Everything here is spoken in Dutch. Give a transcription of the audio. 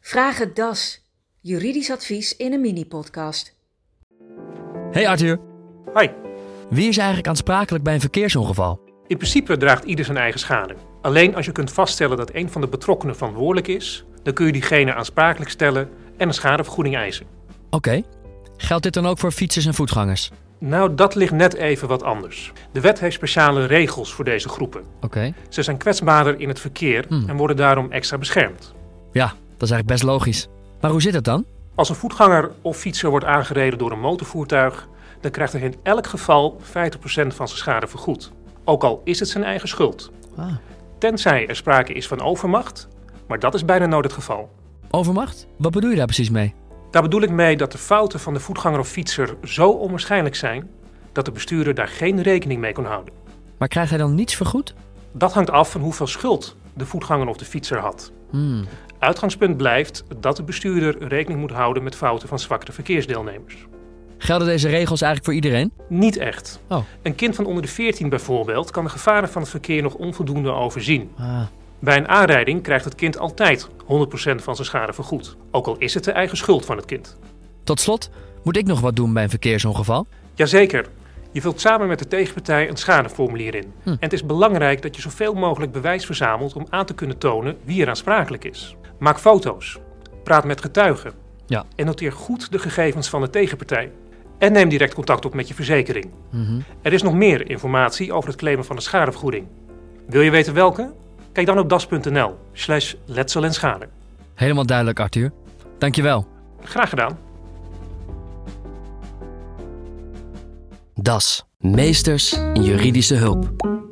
Vraag het DAS. Juridisch advies in een mini-podcast. Hey Arthur, Hoi. wie is eigenlijk aansprakelijk bij een verkeersongeval? In principe draagt ieder zijn eigen schade. Alleen als je kunt vaststellen dat een van de betrokkenen verantwoordelijk is, dan kun je diegene aansprakelijk stellen en een schadevergoeding eisen. Oké, geldt dit dan ook voor fietsers en voetgangers? Nou, dat ligt net even wat anders. De wet heeft speciale regels voor deze groepen. Oké. Ze zijn kwetsbaarder in het verkeer Hmm. en worden daarom extra beschermd. Ja, dat is eigenlijk best logisch. Maar hoe zit het dan? Als een voetganger of fietser wordt aangereden door een motorvoertuig, dan krijgt hij in elk geval 50% van zijn schade vergoed. Ook al is het zijn eigen schuld. Ah. Tenzij er sprake is van overmacht, maar dat is bijna nooit het geval. Overmacht? Wat bedoel je daar precies mee? Daar bedoel ik mee dat de fouten van de voetganger of fietser zo onwaarschijnlijk zijn dat de bestuurder daar geen rekening mee kon houden. Maar krijgt hij dan niets vergoed? Dat hangt af van hoeveel schuld de voetganger of de fietser had. Hmm. Uitgangspunt blijft dat de bestuurder rekening moet houden met fouten van zwakkere verkeersdeelnemers. Gelden deze regels eigenlijk voor iedereen? Niet echt. Oh. Een kind van onder de 14 bijvoorbeeld kan de gevaren van het verkeer nog onvoldoende overzien. Ah. Bij een aanrijding krijgt het kind altijd 100% van zijn schade vergoed, ook al is het de eigen schuld van het kind. Tot slot, moet ik nog wat doen bij een verkeersongeval? Jazeker. Je vult samen met de tegenpartij een schadeformulier in. Hm. En het is belangrijk dat je zoveel mogelijk bewijs verzamelt om aan te kunnen tonen wie er aansprakelijk is. Maak foto's. Praat met getuigen. Ja. En noteer goed de gegevens van de tegenpartij. En neem direct contact op met je verzekering. Mhm. Er is nog meer informatie over het claimen van de schadevergoeding. Wil je weten welke? Kijk dan op das.nl slash letsel en schade. Helemaal duidelijk, Arthur. Dankjewel. Graag gedaan. Das. Meesters in juridische hulp.